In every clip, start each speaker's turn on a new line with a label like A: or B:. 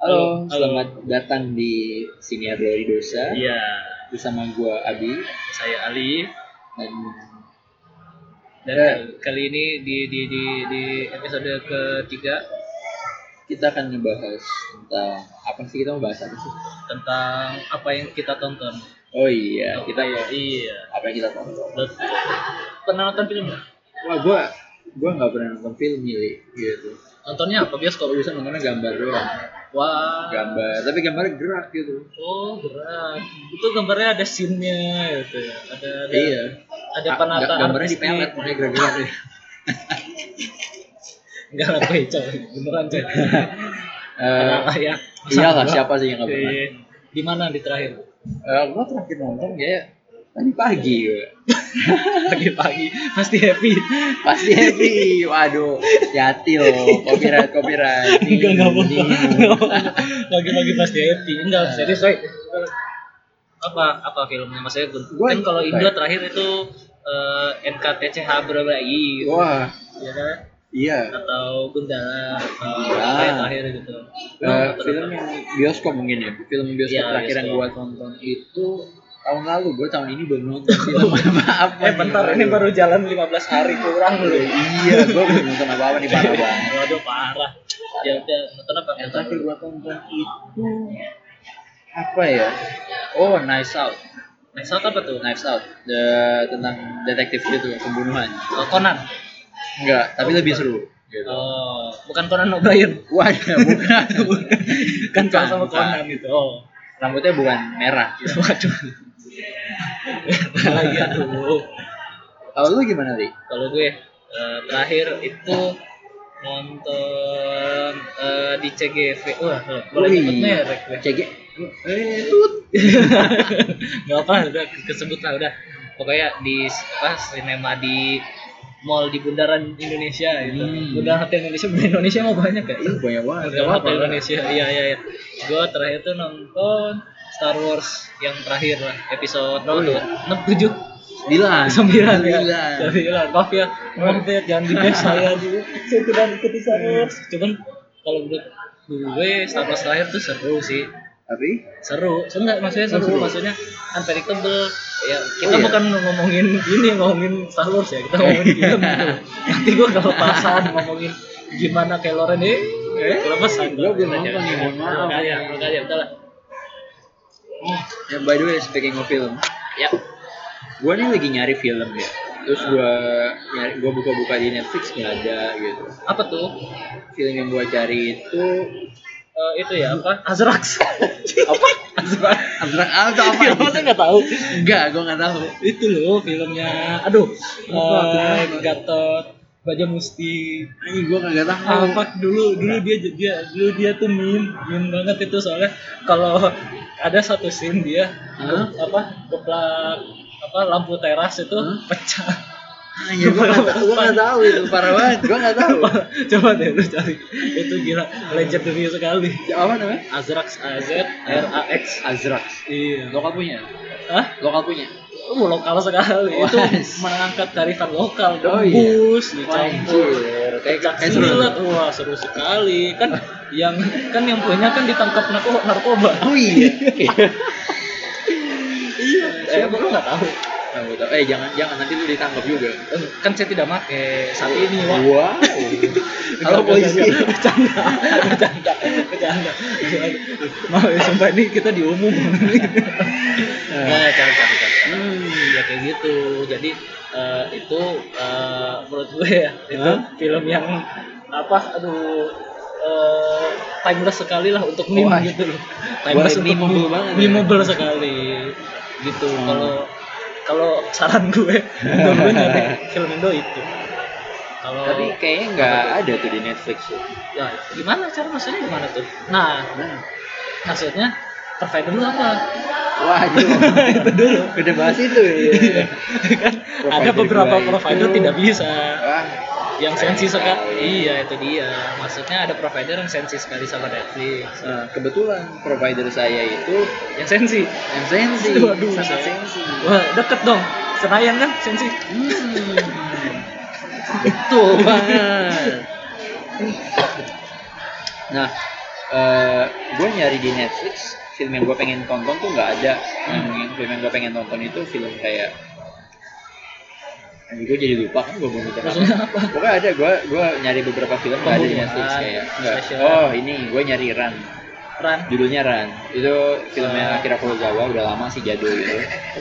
A: Halo,
B: Halo.
A: selamat datang di Siniar Dari Dosa
B: Iya,
A: Bersama gua Abi
B: saya Ali
A: Dan Ya.
B: dan kali- kali ini di di di di episode ketiga
A: kita akan ngebahas tentang Apa sih kita mau bahas apa sih?
B: tentang apa yang kita tonton.
A: Oh iya, kita ya
B: Iya.
A: Apa yang kita tonton
B: Lo- Pernah nonton film nggak?
A: Wah gua gua nggak pernah nonton film milih gitu
B: Nontonnya apa bioskop?
A: Kalau bisa nontonnya gambar doang
B: Wah.
A: Gambar, tapi gambarnya gerak gitu
B: Oh, gerak. Itu gambarnya ada scene-nya gitu ya. Ada ada,
A: Iya
B: ada
A: Ga-
B: penataan
A: Gambarnya di
B: artistik.
A: pelet, makanya gerak-gerak ya
B: Enggak lah, coy, coy. Beneran, coy.
A: Eh,
B: Kenapa ya?
A: Iyalah siapa sih yang nggak pernah
B: Di- Di mana di terakhir?
A: Eh, Gua terakhir nonton kayak Tadi pagi gua.
B: Pagi-pagi pasti happy.
A: pasti happy waduh hati-hati loh copyright copyright
B: enggak enggak apa Iya. lagi-lagi pasti happy enggak serius coy apa apa filmnya maksudnya gue
A: Gua-
B: kan kalau Indo terakhir itu eh, NKTCH Berabai gitu
A: wah
B: ya kan
A: iya
B: atau Gundala atau
A: Iya.
B: apa yang terakhir gitu
A: Eh, film yang bioskop mungkin ya film bioskop
B: Iya,
A: terakhir yang gua
B: bioskop.
A: tonton itu tahun lalu gua tahun ini belum nonton film maaf
B: eh bentar ini baru jalan 15 hari kurang loh
A: iya gua belum nonton apa apa di parah banget
B: waduh parah ya udah nonton apa
A: yang terakhir gua tonton itu apa ya oh Knives Out
B: Nah, saat apa tuh
A: Knives Out The- tentang detektif gitu pembunuhan
B: Oh, Conan
A: enggak tapi lebih seru gitu.
B: oh bukan Conan O'Brien
A: Wah, ya, bukan.
B: kan
A: Bukan,
B: sama
A: bukan.
B: Conan itu oh
A: Rambutnya bukan merah. gitu.
B: Waduh. Lagi aduh.
A: Kalau lu gimana, Ri?
B: Kalau gue eh, terakhir itu nonton eh, di CGV. Wah, eh, boleh
A: Wih,
B: nyebut merek gue.
A: CG. Eh, tut.
B: Gak apa, udah kesebut lah udah. Pokoknya di apa sinema di mall di bundaran Indonesia itu.
A: Hmm.
B: Bundaran Hotel Indonesia, bundaran Indonesia mau banyak ya?
A: Ih, banyak banget. ya,
B: Bundaran Hotel Indonesia. Iya, iya, iya. Gue terakhir tuh nonton Star Wars yang terakhir lah, episode
A: Oh, iya.
B: 6 7
A: Sembilan.
B: sembilan ya
A: Sembilan.
B: sembilan maaf ya maaf ya jangan digas saya dulu saya tidak ikuti serius cuman kalau menurut gue Star Wars terakhir tuh seru sih
A: Tapi
B: seru seru nggak maksudnya seru,
A: Seru.
B: maksudnya unpredictable ya kita
A: iya. Oh,
B: bukan ngomongin ini ngomongin Star Wars ya kita ngomongin film gitu nanti gue kalau pasan ngomongin gimana Kylo Ren ini eh, kelepasan
A: gua belum iya, nonton
B: Jangan,
A: nih,
B: jangan.
A: mohon maaf.
B: makanya makanya udah lah
A: ya by the way speaking of film,
B: ya
A: gua nih lagi nyari film ya. Terus gua nyari gua buka-buka di Netflix nggak ada gitu.
B: apa tuh
A: Film yang gua cari itu
B: Eh, itu ya apa Azrax
A: apa? Abstrak apa apa?
B: Ya, masa nggak tahu?
A: Enggak, gua nggak tahu.
B: Itu loh filmnya. Aduh,
A: Apa,
B: eh,
A: apa?
B: Gatot Baja Musti.
A: Ini gua nggak tahu.
B: Apa dulu dulu dia dia dulu dia tuh min min banget itu soalnya kalau ada satu scene dia
A: Hah?
B: apa keplak apa lampu teras itu
A: Hah?
B: pecah.
A: Anjir, Ah, iya, gua nggak tahu. Gua nggak tahu itu parah banget. Gua nggak tahu.
B: Coba deh lu cari. Itu gila legendary sekali.
A: Ya, apa namanya?
B: Azrax A Z R A X.
A: Azrax.
B: Iya.
A: Lokal punya.
B: Hah?
A: Lokal punya.
B: Oh, lokal sekali. Itu
A: Wes.
B: mengangkat kearifan lokal,
A: Oh, iya.
B: debus,
A: Campur.
B: dicampur.
A: Kayak
B: Cak
A: kayak seru.
B: silat. Wah, seru sekali. Kan yang kan yang punya kan ditangkap narko- narkoba.
A: Oh iya. Iya.
B: Saya baru nggak tahu.
A: Eh jangan jangan nanti lu ditangkap juga.
B: Eh, Kan saya tidak pakai saat ini, Wak.
A: Wow. Halo polisi.
B: Bercanda, bercanda, bercanda. Mau ya, sumpah ini kita diumum. Nah, cari, cari, cari. Hmm, ya kayak gitu. Jadi eh, itu eh, menurut gue ya itu
A: Hah?
B: film yang apa? Aduh, eh, timeless sekali lah untuk meme
A: Wah.
B: gitu loh.
A: Oh Wah, memeable banget ya.
B: memeable sekali gitu.
A: Hmm.
B: Kalau kalau saran gue, menurut gue nyari film Indo itu. Kalau
A: Tapi kayaknya nggak ada tuh di Netflix tuh.
B: ya gimana cara maksudnya gimana tuh? Nah,
A: Nah.
B: maksudnya provider lu apa?
A: Waduh. itu dulu. Udah bahas itu. Iya.
B: Kan ada
A: Provider
B: beberapa
A: gua itu-
B: provider tidak bisa
A: Wah.
B: yang sensi sekali iya itu dia maksudnya ada provider yang sensi sekali sama Netflix
A: eh, kebetulan provider saya itu
B: yang sensi
A: yang sensi,
B: Waduh,
A: sangat
B: saya-
A: sensi.
B: wah deket dong Senayan kan sensi
A: Betul banget. Nah, gue nyari di Netflix film yang gue pengen tonton tuh nggak ada
B: Hmm.
A: yang film yang gue pengen tonton itu film kayak Anjir gue jadi lupa kan gue mau nonton apa.
B: maksudnya apa
A: Pokoknya ada gue gue nyari beberapa film nggak ada di Netflix
B: Pembunuhan,
A: kayak nggak.
B: special.
A: Oh ini gue nyari Run
B: Ran
A: judulnya Run itu filmnya Akira Kurosawa udah lama sih jadul gitu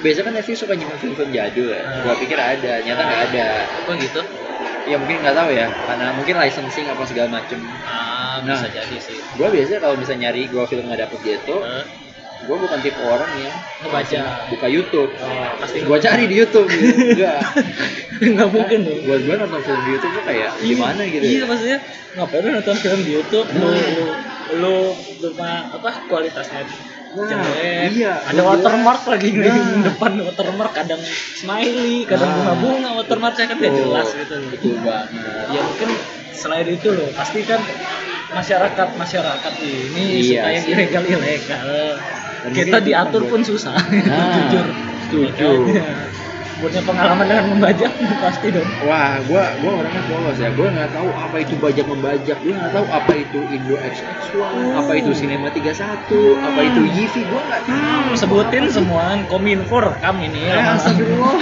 A: biasanya kan Netflix suka nyimpen film-film jadul ya
B: Hmm.
A: gue pikir ada nyata nggak ada
B: apa gitu
A: ya mungkin nggak tahu ya karena mungkin licensing apa segala macem
B: ah
A: Nah.
B: bisa jadi sih
A: gue biasanya kalau bisa nyari gue film nggak dapet gitu
B: Eh,
A: gue bukan tipe orang yang
B: ngebaca
A: buka YouTube
B: oh, pasti
A: gue cari di YouTube gitu. Enggak.
B: nggak mungkin dong
A: buat gue nonton film di YouTube tuh kayak gimana gitu
B: iya maksudnya ngapain lu nonton film di YouTube lu
A: Nah.
B: lu lu cuma apa kualitasnya
A: Nah,
B: jelek
A: iya.
B: ada
A: Lu
B: watermark lagi di
A: Nah.
B: depan watermark kadang smiley kadang
A: Nah.
B: bunga-bunga watermarknya kan tidak
A: Betul.
B: jelas gitu
A: Oh, betul banget
B: ya mungkin selain itu loh pasti kan masyarakat masyarakat ini
A: Iya
B: suka yang
A: sih.
B: ilegal ilegal
A: Dan
B: kita
A: mungkin itu
B: diatur
A: membuat-
B: pun susah
A: Nah,
B: jujur
A: setuju.
B: Makanya, punya pengalaman dengan membajak pasti dong
A: Wah, gua gua orangnya polos ya. Gua nggak tahu apa itu bajak membajak. Gua nggak tahu apa itu Indo XX1,
B: Hmm.
A: apa itu Cinema 31, apa
B: Hmm.
A: itu Yivi. Gua nggak tahu.
B: sebutin semua kominfo rekam ini
A: Ya,
B: ya
A: astagfirullah.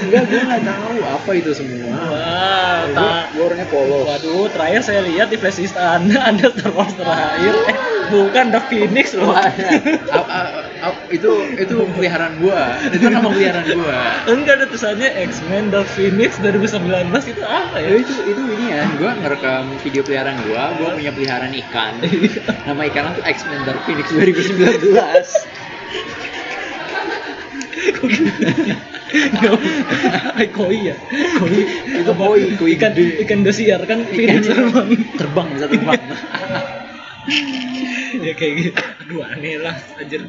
A: Enggak, gua nggak tahu apa itu semua.
B: wah
A: Gua,
B: tak
A: gua orangnya polos.
B: Waduh, terakhir saya lihat di flashdisk Anda, Anda Star Wars terakhir. Eh, bukan The Phoenix loh.
A: Wah, ya. ap- ap- ap- itu itu peliharaan gua. Itu nama peliharaan gua.
B: Enggak ada tulisannya X-Men The Phoenix 2019 itu apa ya?
A: Ya, itu itu ini ya, gua ngerekam video peliharaan gua, gua punya peliharaan ikan.
B: Iya.
A: Nama ikan tuh X-Men Dark Phoenix 2019.
B: Ay, koi ya. Koi.
A: Itu koi, koi
B: ikan
A: gede.
B: ikan dosiar kan
A: Ikan
B: phoenix terbang.
A: terbang bisa terbang
B: ya kayak gitu. Aduh aneh lah anjir.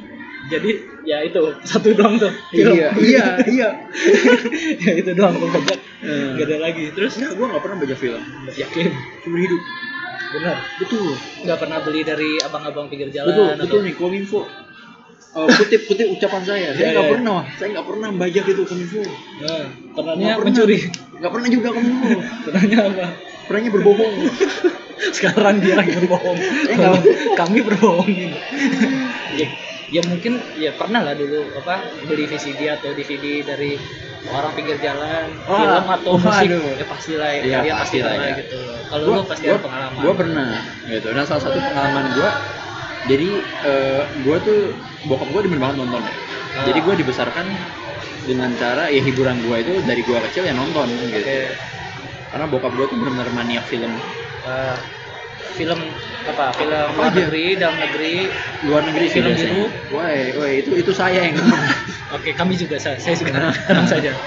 B: Jadi ya itu satu doang tuh. film.
A: iya iya iya
B: ya itu doang pembajak.
A: Hmm.
B: Gak ada lagi. Terus
A: Enggak, gue gak pernah baca film
B: yakin
A: Cuma hidup
B: benar.
A: Betul
B: Gak pernah beli dari abang-abang pinggir jalan.
A: Betul,
B: atau-
A: betul nih, kominfo Eh, kutip kutip ucapan saya
B: Iya,
A: saya nggak
B: iya.
A: pernah saya nggak pernah bajak itu kominfo
B: Nah,
A: Nggak
B: pernahnya
A: pernah.
B: mencuri.
A: nggak pernah juga kominfo
B: Pernahnya apa?
A: pernahnya berbohong
B: sekarang dia lagi berbohong
A: Eh, nggak apa-apa.
B: kami berbohongin ya, ya mungkin ya pernah lah dulu apa beli VCD atau DVD dari orang pinggir jalan
A: Wah,
B: film atau
A: Ah. waduh.
B: musik ya pastilah ya,
A: Iya,
B: dia pasti
A: pastilah,
B: pernah
A: ya.
B: gitu loh. kalau
A: Gua-
B: lu pasti
A: gua-
B: ada pengalaman
A: gua pernah gitu nah salah satu pengalaman gue jadi eh, gua gue tuh bokap gue demen banget nonton ya
B: Ah.
A: jadi gue dibesarkan dengan cara ya hiburan gue itu dari gue kecil ya nonton gitu
B: Oke.
A: karena bokap gue tuh benar-benar maniak film
B: Eh, film apa film
A: Apa aja?
B: luar negeri dalam negeri
A: luar negeri sih
B: Film
A: biasanya.
B: biru.
A: Woi, woi itu itu saya yang
B: oke kami juga saya, saya juga tenang saja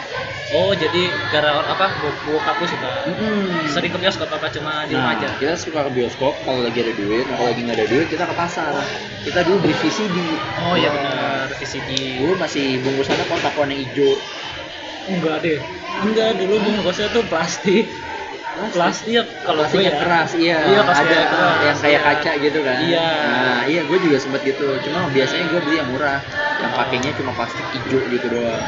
B: oh jadi gara apa bokap lu suka
A: Mm-mm.
B: sering kerja suka apa cuma di
A: Nah,
B: rumah aja
A: kita suka ke bioskop kalau lagi ada duit, nah, kalau lagi nggak ada duit kita ke pasar. Kita dulu beli VCD.
B: Oh
A: Wah.
B: iya benar VCD.
A: Dulu masih bungkusannya kotak warna hijau.
B: Enggak deh. Enggak dulu bungkusnya tuh plastik.
A: Nah,
B: Plastik ya, kalau gue
A: Plastiknya
B: ya.
A: keras, iya.
B: Iya,
A: ada
B: plastiknya keras,
A: yang kayak
B: iya.
A: kaca gitu kan.
B: Iya.
A: Nah, iya gue juga sempet gitu. Cuma biasanya gue beli yang murah, yang pakainya cuma plastik hijau gitu doang.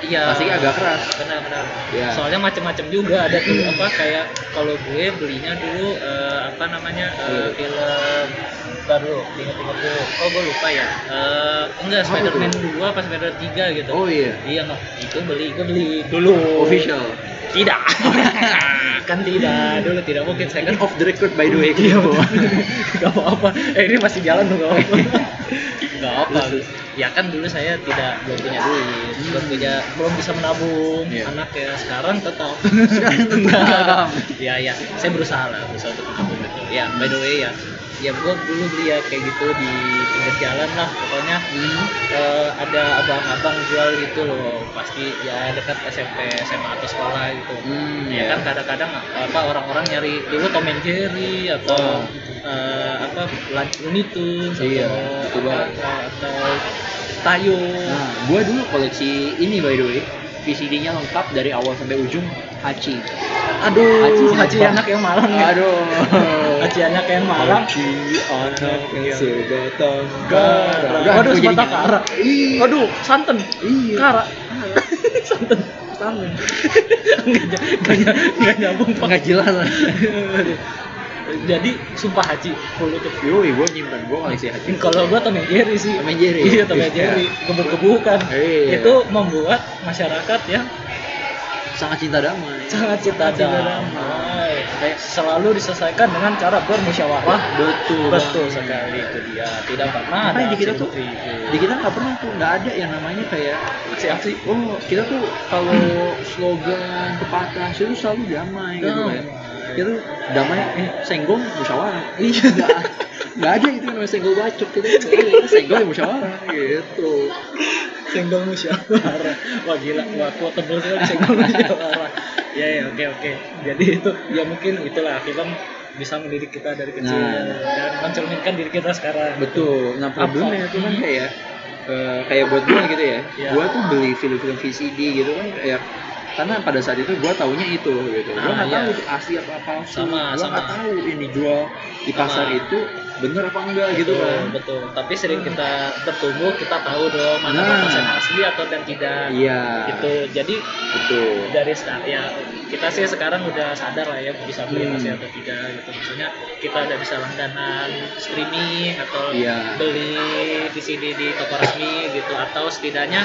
B: Iya.
A: Plastiknya agak keras.
B: Benar benar.
A: Iya.
B: Soalnya macam-macam juga ada tuh apa kayak kalau gue belinya dulu eh, apa namanya eh,
A: Iya.
B: film Bentar dulu, ingat-ingat dulu. Oh, gue lupa ya. Eh, enggak,
A: Apa
B: Spider-Man
A: tuh?
B: 2 apa Spider-Man 3 gitu.
A: Oh iya.
B: Iya, enggak. Itu beli, gue beli dulu.
A: Official.
B: Tidak. kan tidak. Dulu tidak mungkin
A: Ini
B: saya kan
A: off the record by the way. gitu.
B: Iya betul. Gak apa-apa. Eh ini masih jalan dong gak apa-apa. Gak apa.
A: Terus, terus.
B: Ya kan dulu saya tidak belum punya duit, belum
A: Hmm.
B: punya belum bisa menabung
A: Iya.
B: anak ya. Sekarang tetap.
A: Sekarang tetap.
B: Iya ya. Saya berusaha lah berusaha untuk menabung gitu. Ya by the way ya. Ya gua dulu beli ya kayak gitu di pinggir jalan lah pokoknya
A: Hmm.
B: eh, ada abang-abang jual gitu loh pasti ya dekat SMP SMA atau sekolah gitu
A: Hmm,
B: ya
A: ya.
B: kan kadang-kadang apa orang-orang nyari dulu Tom and Jerry atau
A: Ah.
B: eh, apa Lunch Looney Tunes
A: Iya,
B: atau,
A: betul banget.
B: apa, atau Tayo
A: Nah, gua dulu koleksi ini by the way, VCD-nya lengkap dari awal sampai ujung Hachi.
B: aduh
A: Haji
B: Haji,
A: siapa?
B: anak yang malang ya
A: Aduh.
B: Haji anak yang malang
A: Hachi anak
B: Iya.
A: sebatang
B: Kara. Waduh,
A: gua jadi
B: sebatang
A: nyanyi.
B: kara.
A: Ih,
B: aduh santen
A: Iya.
B: kara santen
A: tangan.
B: nggak nggak- nggak nyambung Pak.
A: Enggak jelas.
B: Aduh. jadi sumpah haji full tutup
A: Yoi, gue nyimpan gue koleksi haji.
B: kalau gua Tom and Jerry sih
A: Tom and Jerry.
B: iya Tom and Jerry kebu-kebu kan
A: Iya.
B: itu membuat masyarakat yang
A: sangat cinta damai.
B: sangat cinta damai Kayak selalu diselesaikan dengan cara bermusyawarah
A: Betul.
B: betul
A: Bang.
B: sekali itu dia tidak pernah
A: Makanya
B: ada
A: di kita tuh,
B: ribut-ribut.
A: di kita nggak pernah tuh, nggak ada yang namanya kayak
B: aksi-aksi
A: Oh, kita tuh kalau slogan pepatah itu selalu damai gitu kan.
B: Damai.
A: Kita tuh damai eh senggol musyawarah. Iya. Enggak ada itu namanya senggol bacok kita tuh nggak ada. Kita senggol ya musyawarah gitu.
B: senggol musyawarah wah gila wah kuat tebel sekali senggol musyawarah ya ya oke oke jadi itu ya mungkin itulah film bisa mendidik kita dari kecil
A: Nah.
B: dan mencerminkan diri kita sekarang
A: Betul. Nah, problemnya itu kan kayak eh, kayak buat gue gitu ya.
B: Iya.
A: Gue tuh beli film-film VCD gitu kan kayak karena pada saat itu gue taunya itu gitu. Gue
B: Ah,
A: nggak
B: iya.
A: tahu asli apa palsu.
B: Sama,
A: Gue nggak
B: sama.
A: tahu yang dijual di
B: Sama.
A: pasar itu bener apa enggak gitu
B: Betul,
A: kan.
B: betul tapi sering kita bertumbuh kita tahu dong mana
A: Nah.
B: persen asli atau dan tidak
A: Iya.
B: gitu jadi
A: Betul.
B: dari sekarang ya kita sih sekarang udah sadar lah ya bisa beli
A: Hmm.
B: masih atau tidak gitu maksudnya kita udah bisa langganan streaming atau
A: Iya.
B: beli di sini di toko resmi gitu atau setidaknya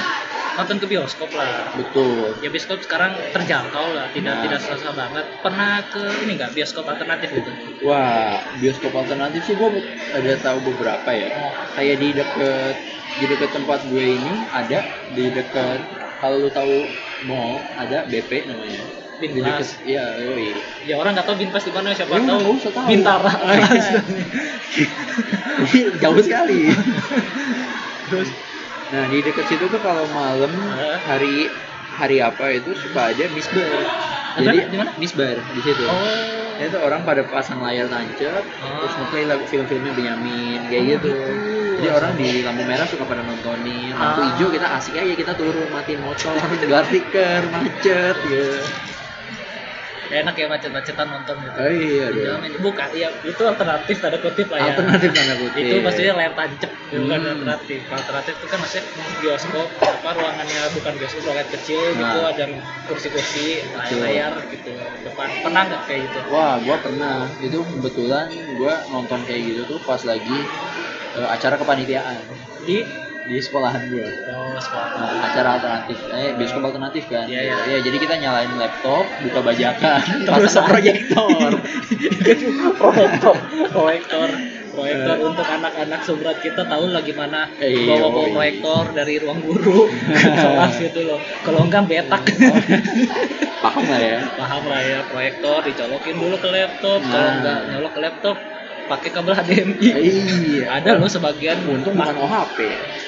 B: nonton ke bioskop lah
A: Betul.
B: ya bioskop sekarang terjangkau lah tidak
A: Nah.
B: tidak susah banget pernah ke ini nggak bioskop alternatif gitu
A: Wah, bioskop alternatif sih gue ada tahu beberapa ya. Kayak di deket di deket tempat gue ini ada di deket kalau lu tahu mall ada BP namanya. Di deket
B: bintas
A: ya, yoi.
B: ya orang nggak tahu bintas di mana siapa
A: Ya, nggak
B: tahu
A: usah tahu. Iya.
B: bintara
A: Jauh sekali. Terus nah di deket situ tuh kalau malam
B: Hah?
A: hari hari apa itu suka ada misbar.
B: Di
A: Jadi
B: mana? Di mana?
A: misbar di situ.
B: oh
A: Ya itu orang pada pasang layar tancap,
B: Ah.
A: terus ngeplay lagu film-filmnya Benyamin kayak
B: Oh,
A: gitu. Jadi orang di lampu merah suka pada nontonin, lampu
B: Ah.
A: hijau kita asik aja kita turun matiin motor, gelar tikar, macet gitu.
B: enak ya macet-macetan nonton gitu
A: Oh iya
B: Jangan
A: dong.
B: main- bukan ya itu alternatif tanda kutip lah ya
A: Alternatif tanda kutip.
B: itu maksudnya layar tancep bukan
A: Hmm.
B: alternatif alternatif itu kan maksudnya bioskop apa ruangannya bukan bioskop ruangan kecil gitu
A: Nah.
B: ada kursi-kursi layar, layar gitu depan pernah nggak kayak gitu
A: Wah, gua pernah. Itu kebetulan gua nonton kayak gitu tuh pas lagi eh, acara kepanitiaan
B: di
A: di sekolahan gua.
B: oh sekolah
A: Nah, acara alternatif, eh bioskop alternatif kan?
B: Iya,
A: Ya,
B: iya.
A: jadi kita nyalain laptop, buka bajakan,
B: Terus
A: pasang
B: apa?
A: proyektor.
B: proyektor proyektor proyektor untuk anak-anak sumrat kita tahu lah gimana
A: Eh,
B: bawa bawa
A: yoi.
B: proyektor dari ruang guru ke kelas gitu loh kalau enggak betak
A: Hmm. Paham lah ya.
B: paham lah ya proyektor dicolokin dulu ke laptop kalau
A: Nah.
B: nggak nyolok ke laptop pakai kabel HDMI
A: Iya.
B: ada loh sebagian
A: Untung bukan OHP.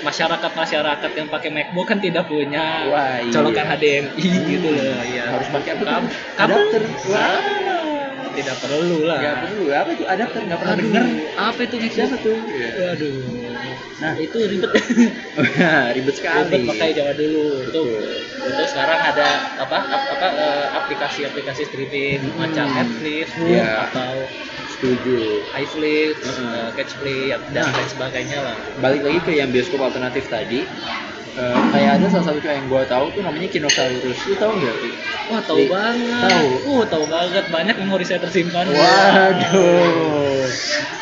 B: masyarakat masyarakat yang pakai MacBook kan tidak punya
A: Wah, iya.
B: colokan HDMI gitu loh ya
A: Harus pakai apa?
B: Kam-
A: tuh?
B: kabel
A: Adapter.
B: Ah, tidak perlu lah
A: Gak perlu apa tuh adapter nggak pernah
B: Aduh,
A: denger.
B: apa itu
A: Siapa
B: MacBook
A: tuh? Iya.
B: waduh
A: Nah.
B: nah itu ribet
A: Iya. Ribet
B: ribet
A: sekali.
B: pakai Iya, Jawa dulu itu
A: Betul.
B: itu sekarang ada apa ap- apa eh, aplikasi-aplikasi streaming
A: Hmm.
B: macam Netflix
A: Iya. Hmm.
B: atau
A: Setuju.
B: iFlix,
A: Heeh.
B: uh, Catchplay dan
A: Nah.
B: lain sebagainya lah.
A: Balik lagi ke yang bioskop alternatif tadi. Eh, kayak ada salah satu cowok yang gua tahu tuh namanya Kinosaurus. Lu tahu nggak? Ki?
B: Wah tahu
A: Di-
B: banget.
A: tahu.
B: Uh tahu banget banyak memori saya tersimpan.
A: Waduh.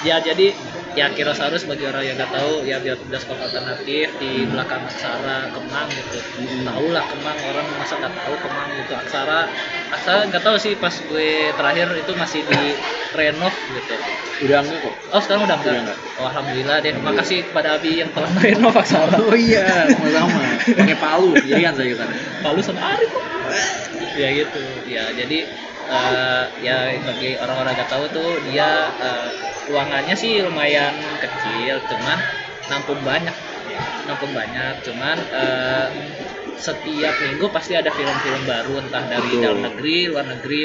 B: Ya jadi ya Kirosaurus bagi orang yang nggak tahu ya biar bioskop alternatif di belakang Aksara Kemang gitu.
A: Hmm.
B: Tahu lah Kemang orang masa nggak tahu Kemang gitu Aksara. Aksara nggak tahu sih pas gue terakhir itu masih di renov gitu.
A: Udah enggak kok.
B: Oh sekarang udah enggak.
A: Udah Iya, nggak.
B: Oh, alhamdulillah deh. Makasih kepada Abi yang telah merenov Aksara.
A: Oh iya, sama-sama. Pakai palu, sendirian saya kan. kesana.
B: Palu sama Arif kok. ya gitu ya jadi eh, ya bagi orang-orang nggak tahu tuh dia eh, ruangannya sih lumayan kecil cuman nampung banyak nampung banyak cuman eh, setiap minggu pasti ada film-film baru entah dari
A: Betul.
B: dalam negeri luar negeri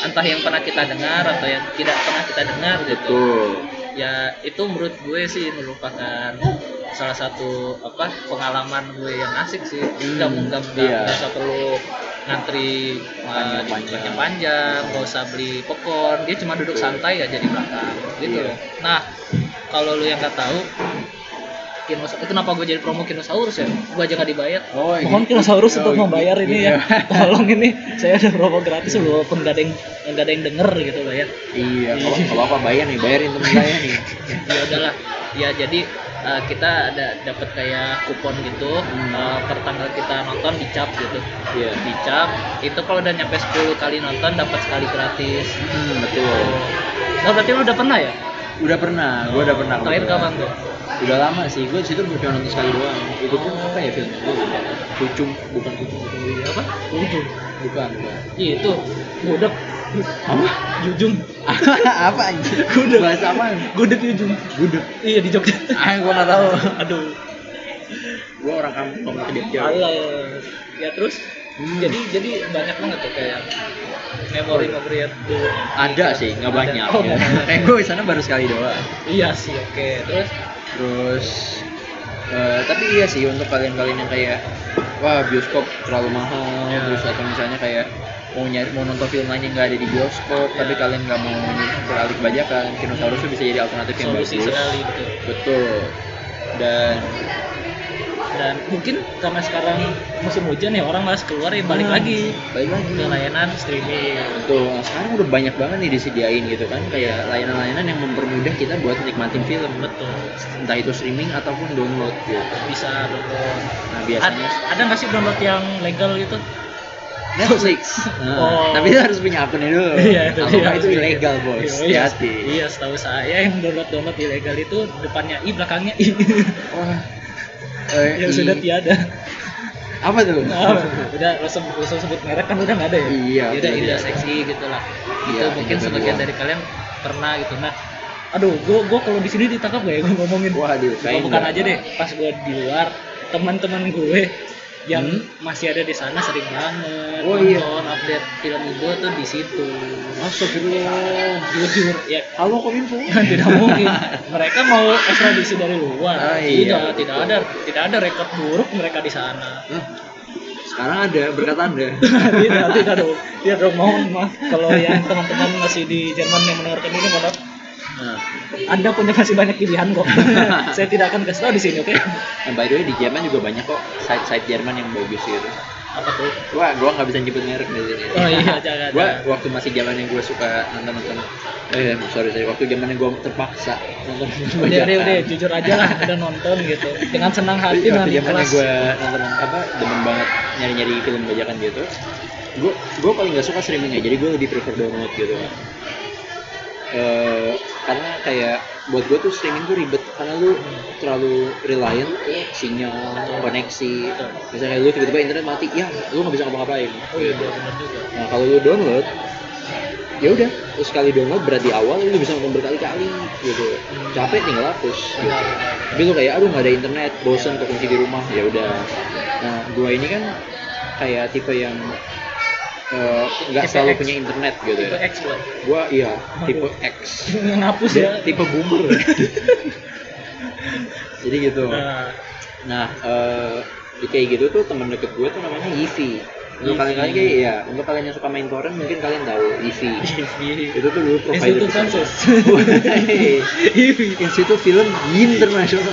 B: entah yang pernah kita dengar atau yang tidak pernah kita dengar gitu
A: Tuh.
B: ya itu menurut gue sih merupakan salah satu apa pengalaman gue yang asik sih
A: Hmm,
B: nggak nggak nggak
A: iya.
B: nggak usah perlu ngantri uh, di
A: Panjang-panjang.
B: tempatnya panjang nggak usah beli popcorn dia cuma duduk
A: Betul.
B: santai aja di belakang gitu
A: Iya.
B: loh nah kalau lu yang nggak tahu dinosaurus itu kenapa gue jadi promo kinosaurus ya gue aja gak dibayar
A: Oh, iya.
B: mohon
A: Oh,
B: kinosaurus untuk
A: iya.
B: membayar ini
A: Iya.
B: ya tolong ini saya ada promo gratis walaupun gak ada yang gak ada yang denger gitu lah ya
A: Iya, kalau kalau apa bayar nih, bayarin temen saya nih.
B: ya udahlah ya jadi eh, kita ada dapat kayak kupon gitu
A: Hmm.
B: eh, per tanggal kita nonton dicap gitu
A: Iya.
B: dicap itu kalau udah nyampe 10 kali nonton dapat sekali gratis
A: Hmm, betul.
B: oh berarti lu udah pernah ya
A: Udah pernah, gue udah pernah.
B: terakhir
A: kebetulan.
B: kapan tuh
A: Udah lama sih, gue situ cuma nonton sekali doang. Itu pun apa ya film gue? Kucung, bukan kucung, kucung gue apa?
B: Iya, apa ujung
A: Bukan, bukan.
B: iya itu gudeg
A: Apa?
B: jujung
A: apa anjir? Gudeg. Bahasa apa?
B: gudeg jujung
A: Gudeg.
B: iya di Jogja Oh,
A: Ah, gue nggak tahu.
B: aduh
A: Gue orang kampung, nggak pernah ke Jogja.
B: Halo. Ya terus
A: Hmm.
B: jadi jadi banyak banget tuh kayak memori memori itu.
A: Ada sih, nggak
B: Ada.
A: banyak.
B: Oh,
A: ya.
B: nggak banyak.
A: Kayak gue sana baru sekali doang.
B: Iya sih, oke. Terus
A: Terus eh, tapi iya sih untuk kalian-kalian yang kayak wah bioskop terlalu mahal
B: Ya.
A: terus atau misalnya kayak mau nyari mau nonton film lainnya nggak ada di bioskop
B: Ya.
A: tapi kalian nggak mau beralih bajakan Kinosaurus tuh bisa jadi alternatif yang
B: solusi
A: bagus
B: sekali gitu.
A: betul dan
B: Dan mungkin karena sekarang musim hujan ya orang malas keluar ya balik
A: Hmm,
B: lagi
A: balik lagi
B: ke layanan streaming.
A: betul Nah, sekarang udah banyak banget nih disediain gitu kan kayak layanan-layanan yang mempermudah kita buat nikmatin film
B: Betul.
A: entah itu streaming ataupun download gitu
B: Bisa download.
A: nah
B: Ad-
A: biasanya
B: ada nggak sih download yang legal gitu?
A: Netflix. Nah,
B: Oh. Iya,
A: Tapi itu harus punya akunnya dulu. Kalau
B: dia.
A: nggak Oh, itu ilegal bos.
B: Iya, iya.
A: Hati-hati.
B: Iya, setahu saya yang download download ilegal itu depannya i belakangnya i
A: Wah. Eh, i-
B: yang Ya, sudah iya. tiada.
A: Apa tuh?
B: Nah, udah nggak usah nggak usah sebut merek kan udah nggak ada ya.
A: Iya,
B: Ya Udah
A: iya,
B: indah
A: iya.
B: seksi gitu lah. Itu
A: Iya,
B: mungkin
A: indah
B: sebagian
A: doang.
B: dari kalian pernah gitu. Nah, aduh, gua gua kalau di sini ditangkap gak ya gua ngomongin.
A: Waduh,
B: Gua
A: kayaknya.
B: bukan aja deh, pas gua di luar teman-teman gue yang
A: Hmm?
B: masih ada di sana sering banget
A: Oh, iya.
B: nonton update film gue tuh di situ.
A: Astagfirullah.
B: Jujur, ya
A: Halo kominfo.
B: tidak mungkin mereka mau ekstradisi dari luar
A: Ah, iya,
B: tidak tidak ada tidak ada rekor buruk mereka di sana
A: Hah? Sekarang ada berkat anda.
B: tidak tidak dong ya dong mohon maaf kalau yang teman-teman masih di Jerman yang mendengarkan ini mohon maaf
A: Nah,
B: anda punya masih banyak pilihan kok saya tidak akan kasih tahu di sini oke
A: and eh, by the way di Jerman juga banyak kok site-site Jerman yang bagus gitu.
B: apa tuh
A: Gua gua nggak bisa nyebut merek dari sini.
B: oh iya jangan
A: gue
B: jangan.
A: waktu masih zaman yang gue suka nonton nonton eh sorry sorry waktu zaman yang gue terpaksa nonton nonton
B: udah udah udah
A: bajakan.
B: Iya, jujur aja lah udah nonton gitu dengan senang hati
A: Tapi
B: dengan
A: waktu zamannya
B: ikhlas
A: gue nonton apa demen banget nyari nyari film bajakan gitu gue gue paling gak suka streaming aja jadi gue lebih prefer download gitu kan Eh, karena kayak buat gue tuh streaming tuh ribet karena lu terlalu reliant ke sinyal koneksi misalnya kayak lu tiba-tiba internet mati ya lu nggak bisa ngapa-ngapain
B: oh iya benar benar juga
A: nah kalau lu download ya udah lu sekali download berarti awal lu bisa nonton berkali-kali gitu capek tinggal hapus gitu
B: Benar, benar.
A: tapi lu kayak aduh nggak ada internet bosen kekunci di rumah ya udah nah gua ini kan kayak tipe yang eh, nggak
B: Tipe
A: selalu
B: X.
A: punya internet gitu
B: tipe
A: ya
B: X loh
A: gua iya
B: Waduh.
A: tipe X
B: ngapus ya
A: Dia tipe boomer jadi gitu
B: nah,
A: nah eh kayak gitu tuh teman deket gue tuh namanya Yivi untuk
B: Yivi.
A: kalian kalian kayak ya untuk kalian yang suka main torrent mungkin kalian tahu Yivi
B: TV
A: itu tuh gitu. dulu provider
B: Institut
A: besar.
B: Sensus
A: Woi,
B: TV
A: Institut Film Internasional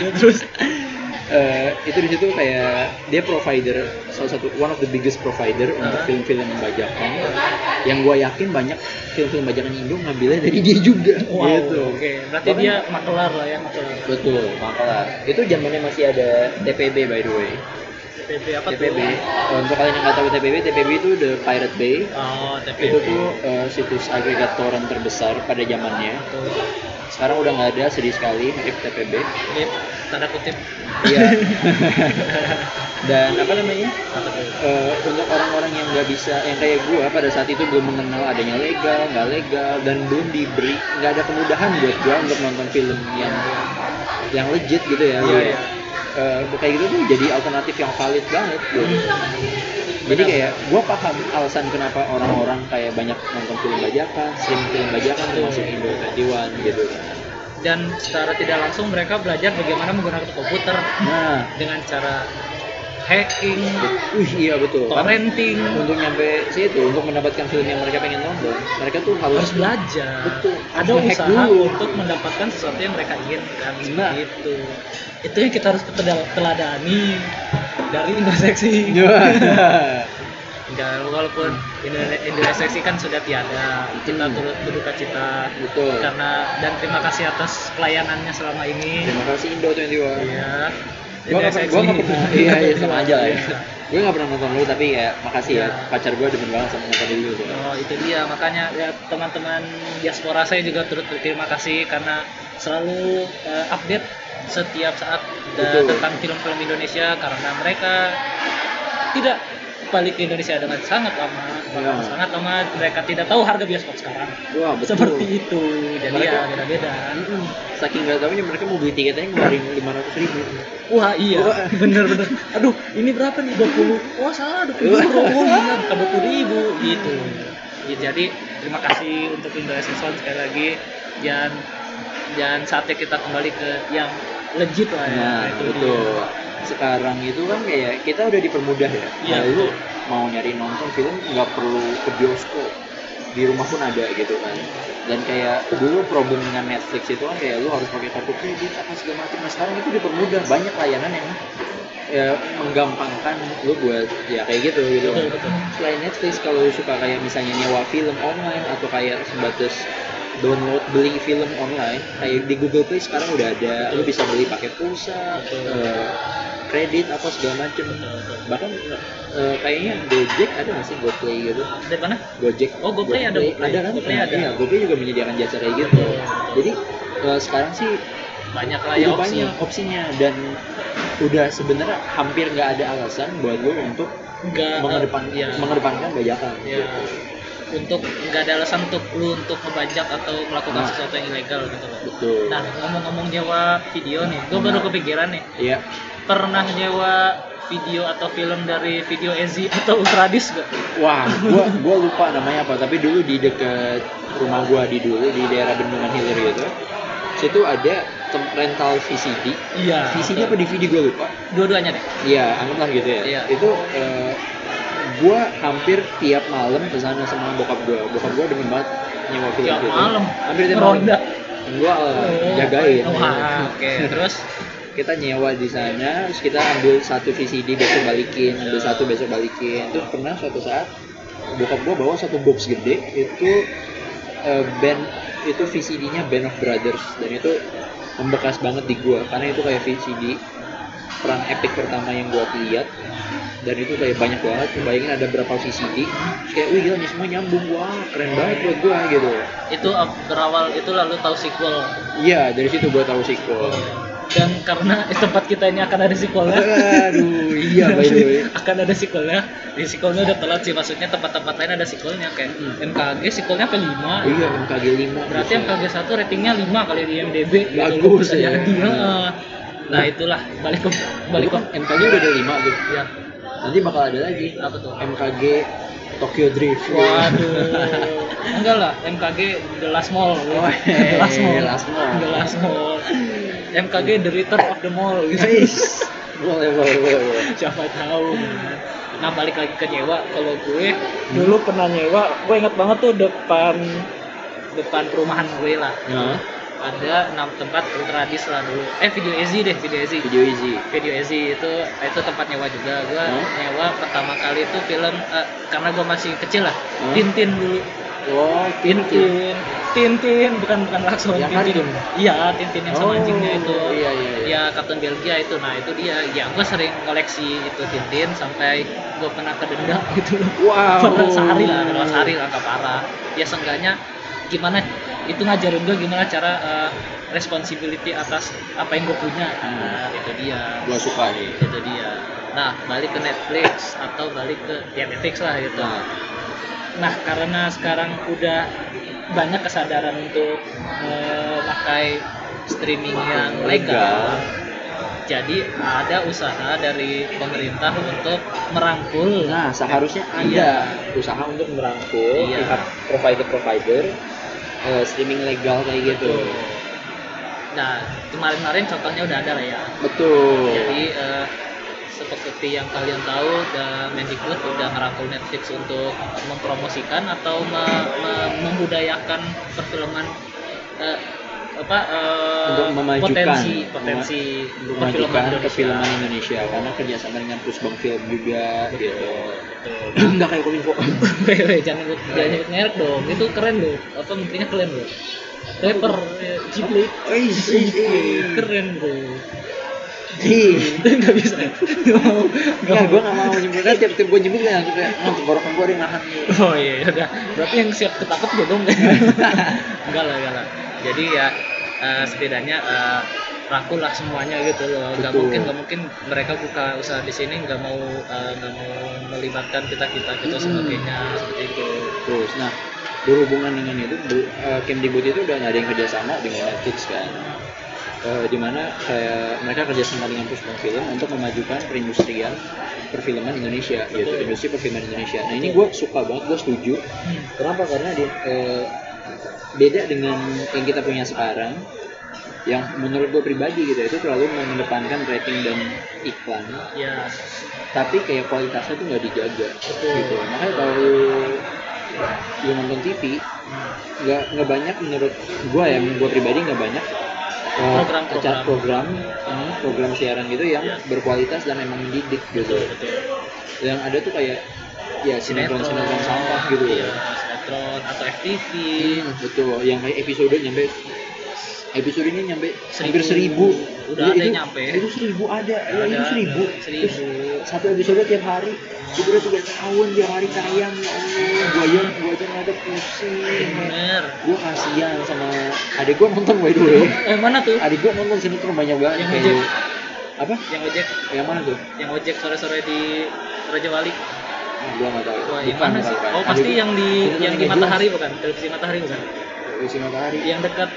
B: ya terus
A: Eh, itu di situ kayak dia provider salah satu one of the biggest provider untuk
B: Ah.
A: film-film bajakan yang gue yakin banyak film-film bajakan Indo ngambilnya dari dia juga
B: wow
A: gitu
B: oke berarti
A: Bahkan-
B: dia makelar lah ya makelar
A: betul makanya itu zamannya masih ada TPB by the way
B: TPB apa
A: TPB
B: tuh
A: Eh, untuk kalian yang nggak tahu TPB TPB itu the Pirate Bay
B: Oh, TPB.
A: itu tuh eh, situs agregat torrent terbesar pada zamannya sekarang udah nggak ada sedih sekali mirip TPB
B: Lip, tanda kutip.
A: iya dan apa namanya
B: Apa tuh?
A: Eh, untuk orang-orang yang nggak bisa yang kayak gua pada saat itu belum mengenal adanya legal nggak legal dan belum diberi nggak ada kemudahan buat gua untuk nonton film yang yang legit gitu ya
B: Iya,
A: Iya.
B: iya.
A: kayak gitu tuh jadi alternatif yang valid banget gitu.
B: Hmm.
A: jadi kayak gua paham alasan kenapa orang-orang kayak banyak nonton film bajakan stream film bajakan termasuk Indo 21 gitu
B: Dan secara tidak langsung mereka belajar bagaimana menggunakan komputer
A: nah
B: dengan cara hacking,
A: Wih iya betul. Karena
B: parenting,
A: untuk nyampe situ, untuk mendapatkan film yang mereka pengen nonton, mereka tuh harus,
B: harus belajar.
A: Betul.
B: Ada
A: Harus ngehack
B: usaha
A: dulu.
B: untuk mendapatkan sesuatu yang mereka inginkan
A: Nah.
B: seperti itu. Itu yang kita harus ketel- teladani dari interseksi.
A: Iya.
B: Enggak, walaupun Indo- Indoneksi kan sudah tiada, kita
A: Hmm.
B: turut berduka cita
A: betul.
B: karena dan terima kasih atas pelayanannya selama ini.
A: Terima kasih Indo 21.
B: Iya.
A: Gua nggak pernah, gua nggak pernah. Iya iya sama aja lah ya. Gue nggak pernah nonton lu tapi ya makasih ya
B: Iya.
A: pacar gue demen banget sama nonton lu. soalnya.
B: Oh, itu dia makanya ya teman-teman diaspora saya juga turut berterima kasih karena selalu eh, update setiap saat eh,
A: Betul.
B: tentang film-film Indonesia karena mereka tidak balik ke Indonesia dengan sangat lama, bahkan
A: Iya.
B: sangat lama mereka tidak tahu harga bioskop sekarang.
A: Wah betul.
B: Seperti itu. Jadi
A: Mereka-
B: ya beda-beda.
A: Mm-mm. Saking nggak tahunya mereka mau beli tiketnya ngeluarin lima ratus ribu.
B: Wah, iya.
A: Wah.
B: Bener-bener. Aduh, ini berapa nih? 20. Oh, salah 20 ribu. Oh, iya, bukan 20 ribu gitu. Ya, jadi terima kasih untuk Indonesia Sound sekali lagi dan dan saatnya kita kembali ke yang legit lah ya.
A: Nah
B: Itu dia.
A: betul. Sekarang itu kan kayak kita udah dipermudah ya.
B: Iya.
A: Kayak lu mau nyari nonton film nggak perlu ke bioskop di rumah pun ada gitu kan dan kayak dulu problem dengan Netflix itu kan kayak lu harus pakai kartu kredit apa segala macam nah sekarang itu dipermudah banyak layanan yang ya, menggampangkan lu buat ya kayak gitu gitu
B: Betul, betul.
A: selain Netflix kalau lu suka kayak misalnya nyewa film online atau kayak sebatas download beli film online kayak di Google Play sekarang udah ada lu bisa beli pakai pulsa
B: Betul.
A: eh, kredit apa segala macem
B: Betul, betul.
A: bahkan eh, kayaknya Gojek ada nggak sih GoPlay gitu
B: Dari mana?
A: Gojek
B: Oh, GoPlay ada, GoPlay.
A: ada kan
B: GoPlay ada.
A: Iya, GoPlay juga menyediakan jasa kayak gitu
B: Betul.
A: jadi eh, sekarang sih
B: Banyak lah ya
A: udah
B: opsi.
A: banyak opsinya dan udah sebenarnya hampir nggak ada alasan buat lu untuk
B: Enggak
A: mengedepan,
B: eh, ya.
A: mengedepankan bajakan
B: ya untuk nggak ada alasan untuk lu untuk ngebajak atau
A: Nah.
B: melakukan sesuatu yang ilegal gitu loh.
A: betul
B: Nah, ngomong-ngomong nyewa video nih, gue baru
A: Nah.
B: kepikiran nih.
A: iya
B: Pernah nyewa video atau film dari video Ezi atau Ultradis gak?
A: Wah, gua gua lupa namanya apa, tapi dulu di dekat rumah gua di dulu di daerah Bendungan Hilir gitu. Situ ada tem- rental VCD.
B: Iya.
A: VCD apa DVD gua lupa.
B: Dua-duanya deh.
A: Iya, anggaplah gitu ya.
B: Iya.
A: Itu eh, gua hampir tiap malam ke sana sama bokap gua. Bokap gua demen banget nyewa film
B: Tiap
A: gitu.
B: malam.
A: Hampir tiap malam.
B: Ronda.
A: Gua eh, jagain.
B: Oh. Wah, oke. Terus
A: kita nyewa di sana terus kita ambil satu VCD besok balikin ambil satu besok balikin terus pernah suatu saat bokap gua bawa satu box gede itu eh, band itu VCD-nya Band of Brothers dan itu membekas banget di gua karena itu kayak VCD perang epic pertama yang gua lihat dan itu kayak banyak banget Lu bayangin ada berapa VCD terus kayak wih gila nih semua nyambung wah keren banget buat gua gitu
B: itu uh, berawal itu lalu tahu sequel.
A: iya dari situ gua tahu sequel
B: Dan karena tempat kita ini akan ada sequelnya.
A: aduh iya by the way
B: akan ada sequelnya di sequelnya udah telat sih maksudnya tempat-tempat lain ada sequelnya kayak
A: Hmm.
B: MKG sequelnya apa lima
A: Iya, MKG 5.
B: berarti MKG satu ratingnya lima kali di IMDb gitu.
A: Bagus
B: Bisa
A: ya.
B: jadi, heeh. nah itulah balik ke
A: balik
B: balik ke
A: MKG udah ada 5 tuh.
B: ya
A: Nanti bakal ada lagi
B: apa tuh
A: MKG Tokyo Drift.
B: waduh enggak lah MKG The Last Mall
A: Oh,
B: The Last Mall
A: The Last Mall.
B: The Last Mall MKG The Return of the Mall gitu.
A: Guys. boleh, boleh, boleh, boleh.
B: siapa tahu nah balik lagi ke nyewa kalau gue dulu pernah nyewa gue ingat banget tuh depan depan perumahan gue lah
A: Nah,
B: ada enam tempat ultradis lah dulu eh video Ezi deh video Ezi
A: video easy.
B: video Ezi itu eh, itu tempat nyewa juga gue
A: Hmm.
B: nyewa pertama kali itu film eh, karena gue masih kecil lah
A: Hmm.
B: Tintin dulu
A: Oh,
B: Tintin Tintin bukan bukan Lakson
A: Yang
B: Tintin
A: anjing.
B: iya Tintin yang sama
A: kan, Oh,
B: anjingnya itu
A: iya, iya, iya.
B: ya kartun Belgia itu nah itu dia ya gue sering koleksi itu Tintin sampai gue pernah kedenda gitu loh
A: Wow.
B: pernah sehari lah pernah sehari lah nggak parah ya seenggaknya gimana itu ngajarin gue gimana cara eh, responsibility atas apa yang gue punya nah,
A: Hmm.
B: itu dia
A: Gua suka nih.
B: itu dia nah balik ke Netflix atau balik ke ya Netflix lah gitu
A: Nah,
B: Nah, karena sekarang udah banyak kesadaran untuk memakai streaming yang legal,
A: ya.
B: jadi ada usaha dari pemerintah untuk merangkul.
A: nah seharusnya ada
B: Iya.
A: usaha untuk merangkul
B: Iya.
A: pihak provider-provider eh, streaming legal kayak gitu.
B: Nah, kemarin-kemarin contohnya udah ada lah ya.
A: Betul.
B: Jadi eh, seperti yang kalian tahu dan Mendikbud udah merangkul Netflix untuk mempromosikan atau me- me- membudayakan perfilman eh, apa eh,
A: Untuk memajukan.
B: potensi potensi perfilman
A: memajukan
B: Indonesia.
A: perfilman Indonesia karena kerjasama dengan Pusbang Film juga gitu.
B: Betul.
A: Enggak kayak kominfo.
B: Wewe, jangan nyebut jangan nyebut merek dong. Itu keren loh. Apa menterinya keren loh. Rapper Cipli
A: Ih, ih, ih.
B: keren bro.
A: Ih.
B: Itu nggak bisa. Nggak mau. Nggak
A: Enggak,
B: mau.
A: gue gak mau nyebutnya tiap tiap gue
B: ya,
A: nyebutnya langsung kayak, oh tenggorokan gue ada yang nahan nih.
B: Oh iya, iya, udah. Berarti yang siap ketangkep gue dong. enggak lah, enggak lah. Jadi ya eh, setidaknya eh, rangkul lah semuanya gitu loh. Gak
A: Betul.
B: mungkin, gak mungkin mereka buka usaha di sini nggak mau eh, nggak mau melibatkan kita kita gitu
A: Mm.
B: sebagainya seperti itu.
A: Terus, nah berhubungan dengan itu, bu- eh, Kemdikbud itu udah nggak ada yang kerjasama dengan Netflix kan. Eh, di dimana kayak mereka kerjasama dengan Pusbang Film untuk memajukan perindustrian perfilman Indonesia, gitu,
B: Betul.
A: industri perfilman Indonesia. Nah ini gue
B: Betul.
A: suka banget, gue setuju. Kenapa? Karena di, eh, beda dengan yang kita punya sekarang, yang menurut gue pribadi gitu itu terlalu mengedepankan rating dan iklan
B: Ya,
A: tapi kayak kualitasnya tuh nggak dijaga
B: Betul.
A: gitu makanya kalau lu, lu nonton TV nggak nggak banyak menurut gua ya gua pribadi nggak banyak eh,
B: Program-program.
A: acara program eh, program siaran gitu yang
B: Iya.
A: berkualitas dan emang mendidik gitu
B: betul betul.
A: yang ada tuh kayak ya sinetron sinetron sampah gitu ya
B: iya, sinetron atau FTV
A: Iya, betul yang kayak episode nyampe episodenya nyampe hampir seribu Iya,
B: Seribu. Udah ada
A: itu-
B: nyampe.
A: itu seribu ada,
B: Udah
A: ya, itu
B: ada,
A: seribu
B: udah seribu.
A: Terus satu episode tiap hari itu udah tiga tahun tiap hari tayang ya Allah gua aja gua aja nggak ada pusing
B: bener
A: gua kasihan sama adik gua nonton by the way
B: eh mana tuh
A: adik gua nonton sinetron banyak banget
B: Yang
A: kayak
B: ngejek.
A: apa
B: yang ojek
A: yang mana tuh
B: yang ojek sore-sore di Raja Wali
A: ah, gua nggak tahu
B: Wah, yang mana sih? oh pasti yang di yang di Matahari bukan televisi Matahari bukan
A: isi matahari
B: yang dekat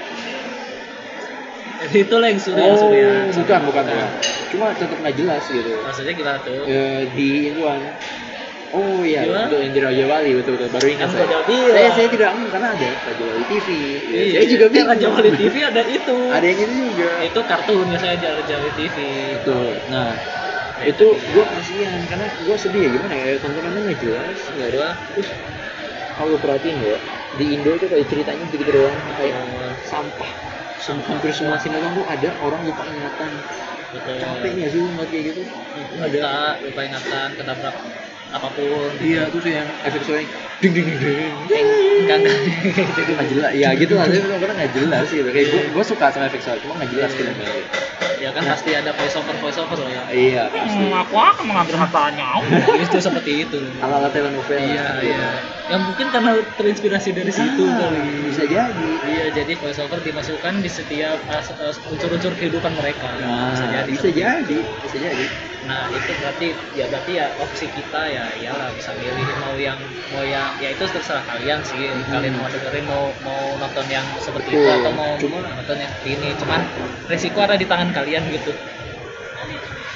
B: itu lah yang surya
A: oh
B: surya
A: bukan bukan
B: Nah,
A: bukan. cuma tetap nggak jelas gitu
B: maksudnya gimana tuh
A: Eh, di ituan Oh iya,
B: Di mana?
A: untuk yang di Raja Wali betul betul baru ingat
B: Kan
A: saya.
B: Raja Wali.
A: Saya, saya tidak ngomong karena ada Raja Wali TV. Ya,
B: Iya,
A: saya juga bingung.
B: Raja Wali TV ada itu
A: Ada yang itu juga.
B: itu kartun ya, biasanya aja Raja Wali TV
A: Betul. Nah, itu gue kasihan karena gue sedih ya gimana ya tontonannya nggak jelas nggak ada
B: Gua-
A: terus kalau lu perhatiin ya di Indo itu kayak ceritanya begitu doang kayak sampah Sem- hampir semua sinetron tuh ada orang lupa ingatan
B: betul
A: capek nggak sih lu ngeliat kayak gitu
B: lupa lupa ingatan ketabrak apapun
A: iya terus yang efek suaranya ding ding ding ding
B: enggak enggak
A: itu nggak jelas ya gitu lah tapi karena nggak jelas gitu kayak gue gue suka sama efek suara cuma nggak jelas filmnya
B: ya kan pasti ada voice over voice over loh ya
A: iya pasti
B: aku akan mengambil hartanya itu seperti itu
A: ala ala telenovela
B: iya iya ya mungkin karena terinspirasi dari situ
A: Ah.
B: kali
A: bisa jadi
B: iya jadi voice over dimasukkan di setiap uh, uh, unsur-unsur kehidupan mereka
A: nah, bisa jadi bisa jadi bisa jadi
B: nah itu berarti ya berarti ya opsi kita ya iyalah bisa milih mau yang mau yang ya itu terserah kalian sih kalian mau dengerin mau mau nonton yang seperti itu
A: Hmm. Betul.
B: atau mau
A: Cuma-
B: nonton yang seperti ini cuman resiko ada di tangan kalian gitu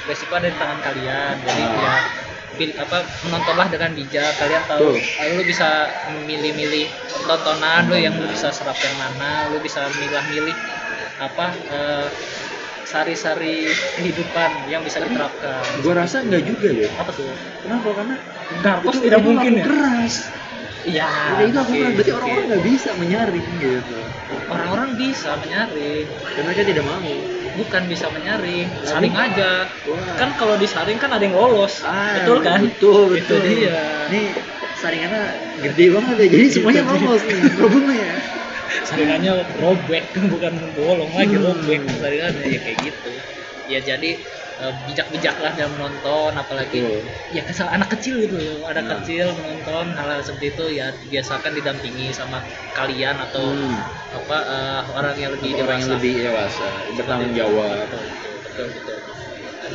B: resiko ada di tangan kalian jadi
A: Ah.
B: ya pil- apa menontonlah dengan bijak kalian tahu
A: Betul.
B: eh, lu bisa milih-milih tontonan lu yang lu bisa serap yang mana lu bisa milah-milih apa eh, sari-sari kehidupan yang bisa diterapkan
A: gue rasa nggak juga ya Oh,
B: apa tuh
A: kenapa karena
B: Darkos
A: itu-
B: tidak
A: itu
B: mungkin
A: laku
B: ya
A: keras
B: iya
A: Jadi Ya, itu aku
B: oke,
A: keras berarti
B: oke.
A: orang-orang nggak bisa menyaring gitu
B: orang-orang bisa menyaring
A: dan mereka tidak mau
B: bukan bisa menyaring
A: Lalu?
B: saring aja
A: Wah.
B: kan kalau disaring kan ada yang lolos
A: Ah,
B: betul kan
A: betul
B: Itu
A: betul
B: dia.
A: nih saringannya gede banget ya jadi semuanya
B: Itu dia.
A: lolos nih problemnya ya
B: saringannya robek bukan bolong lagi
A: Hmm.
B: robek saringannya ya kayak gitu ya jadi eh, bijak-bijaklah dalam menonton apalagi
A: Betul.
B: ya kesal anak kecil gitu loh anak
A: Hmm.
B: kecil menonton hal-hal seperti itu ya biasakan didampingi sama kalian atau
A: Hmm.
B: apa eh, orang yang lebih
A: orang yang
B: dewasa.
A: lebih dewasa bertanggung jawab
B: Betul, betul, betul.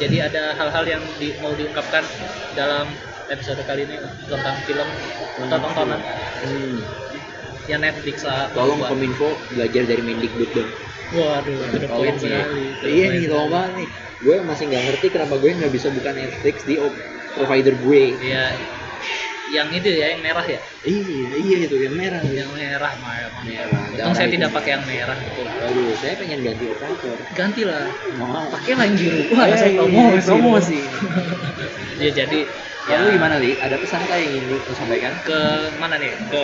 B: Jadi ada hal-hal yang di- mau diungkapkan dalam episode kali ini tentang film atau tontonan
A: Hmm.
B: ya Netflix lah.
A: tolong
B: Buat-
A: kominfo belajar dari Mendikbud dong
B: Waduh, to the
A: Tolong
B: point
A: nih.
B: sekali. to the
A: iya
B: point
A: nih tolong
B: sekali.
A: banget nih gue masih nggak ngerti kenapa gue nggak bisa buka Netflix di op- provider gue
B: Iya, yang itu ya yang merah ya
A: Iya, iya itu yang merah. Yang
B: yang merah mah emang.
A: merah.
B: untung saya
A: darah
B: tidak
A: itu.
B: pakai yang merah gitu
A: Aduh, saya pengen ganti operator.
B: gantilah
A: Mau.
B: pakai yang biru wah
A: Hey,
B: saya promosi
A: promosi.
B: ya jadi
A: Ya,
B: ya
A: lu gimana Li? Ada pesan kah yang ingin lu lu sampaikan?
B: ke mana nih ke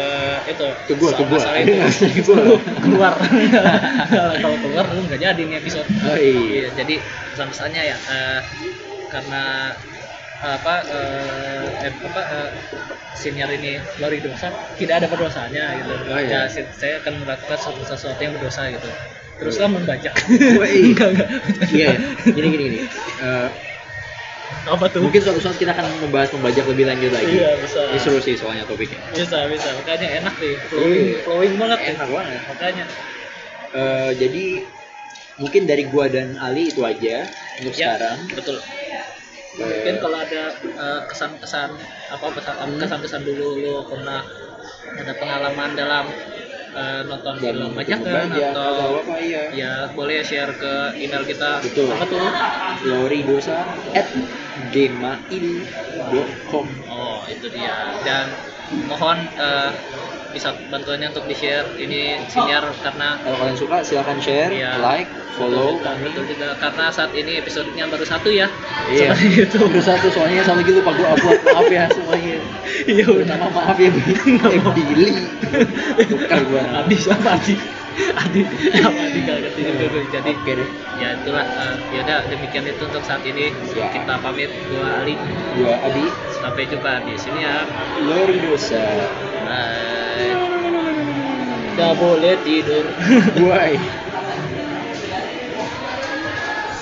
B: itu
A: Ke gua, ke
B: soal
A: gua.
B: masalah
A: Ada
B: itu.
A: nggak sih? Ke gua.
B: Lu keluar kalau keluar lu nggak jadi nih episode
A: Oh iya.
B: Iya, jadi pesan-pesannya ya eh, karena apa eh, eh, apa eh, senior ini lori dosa tidak ada perdosanya gitu.
A: Oh, iya.
B: Ya, si- saya akan melakukan sesuatu, sesuatu yang berdosa gitu.
A: Iya.
B: Teruslah membajak.
A: Woi.
B: Enggak, enggak.
A: Iya, gini gini gini. Eh,
B: Apa tuh?
A: mungkin suatu saat kita akan membahas membajak lebih lanjut lagi.
B: Iya, bisa.
A: Ini seru sih soalnya topiknya.
B: Bisa, bisa. Makanya enak nih. Flowing, flowing banget ya.
A: Enak banget.
B: Makanya.
A: Eh, jadi mungkin dari gua dan Ali itu aja untuk
B: Ya,
A: sekarang.
B: betul.
A: Eh,
B: mungkin kalau ada eh, kesan-kesan apa pesan
A: Hmm.
B: kesan-kesan dulu lo pernah ada pengalaman dalam eh, nonton
A: dan
B: film
A: membajak
B: bajakan atau
A: kan, atau apa iya.
B: ya boleh share ke email kita
A: Betul.
B: apa tuh
A: Lori dosa at gmail.com
B: oh itu dia dan mohon eh, bisa bantuannya untuk di share ini sinyal karena
A: Kalau kalian suka silahkan share,
B: Iya.
A: like, follow
B: betul juga,
A: kami.
B: betul juga. karena saat ini episodenya baru satu ya
A: Iya.
B: seperti itu
A: Terus satu soalnya satu lagi lupa gua upload maaf ya semuanya.
B: iya udah
A: Pertama maaf ya Bi. Eh, Billy. Bukan gua.
B: Adi siapa Adi? Adi sama Adi gak ngerti juga gue. Jadi
A: Oke deh.
B: ya itulah ya udah demikian itu untuk saat ini
A: Ya.
B: kita pamit gua Ali
A: Gua Adi
B: sampai jumpa di sini ya.
A: Lori dosa.
B: Bye. Gak boleh tidur.
A: Bye.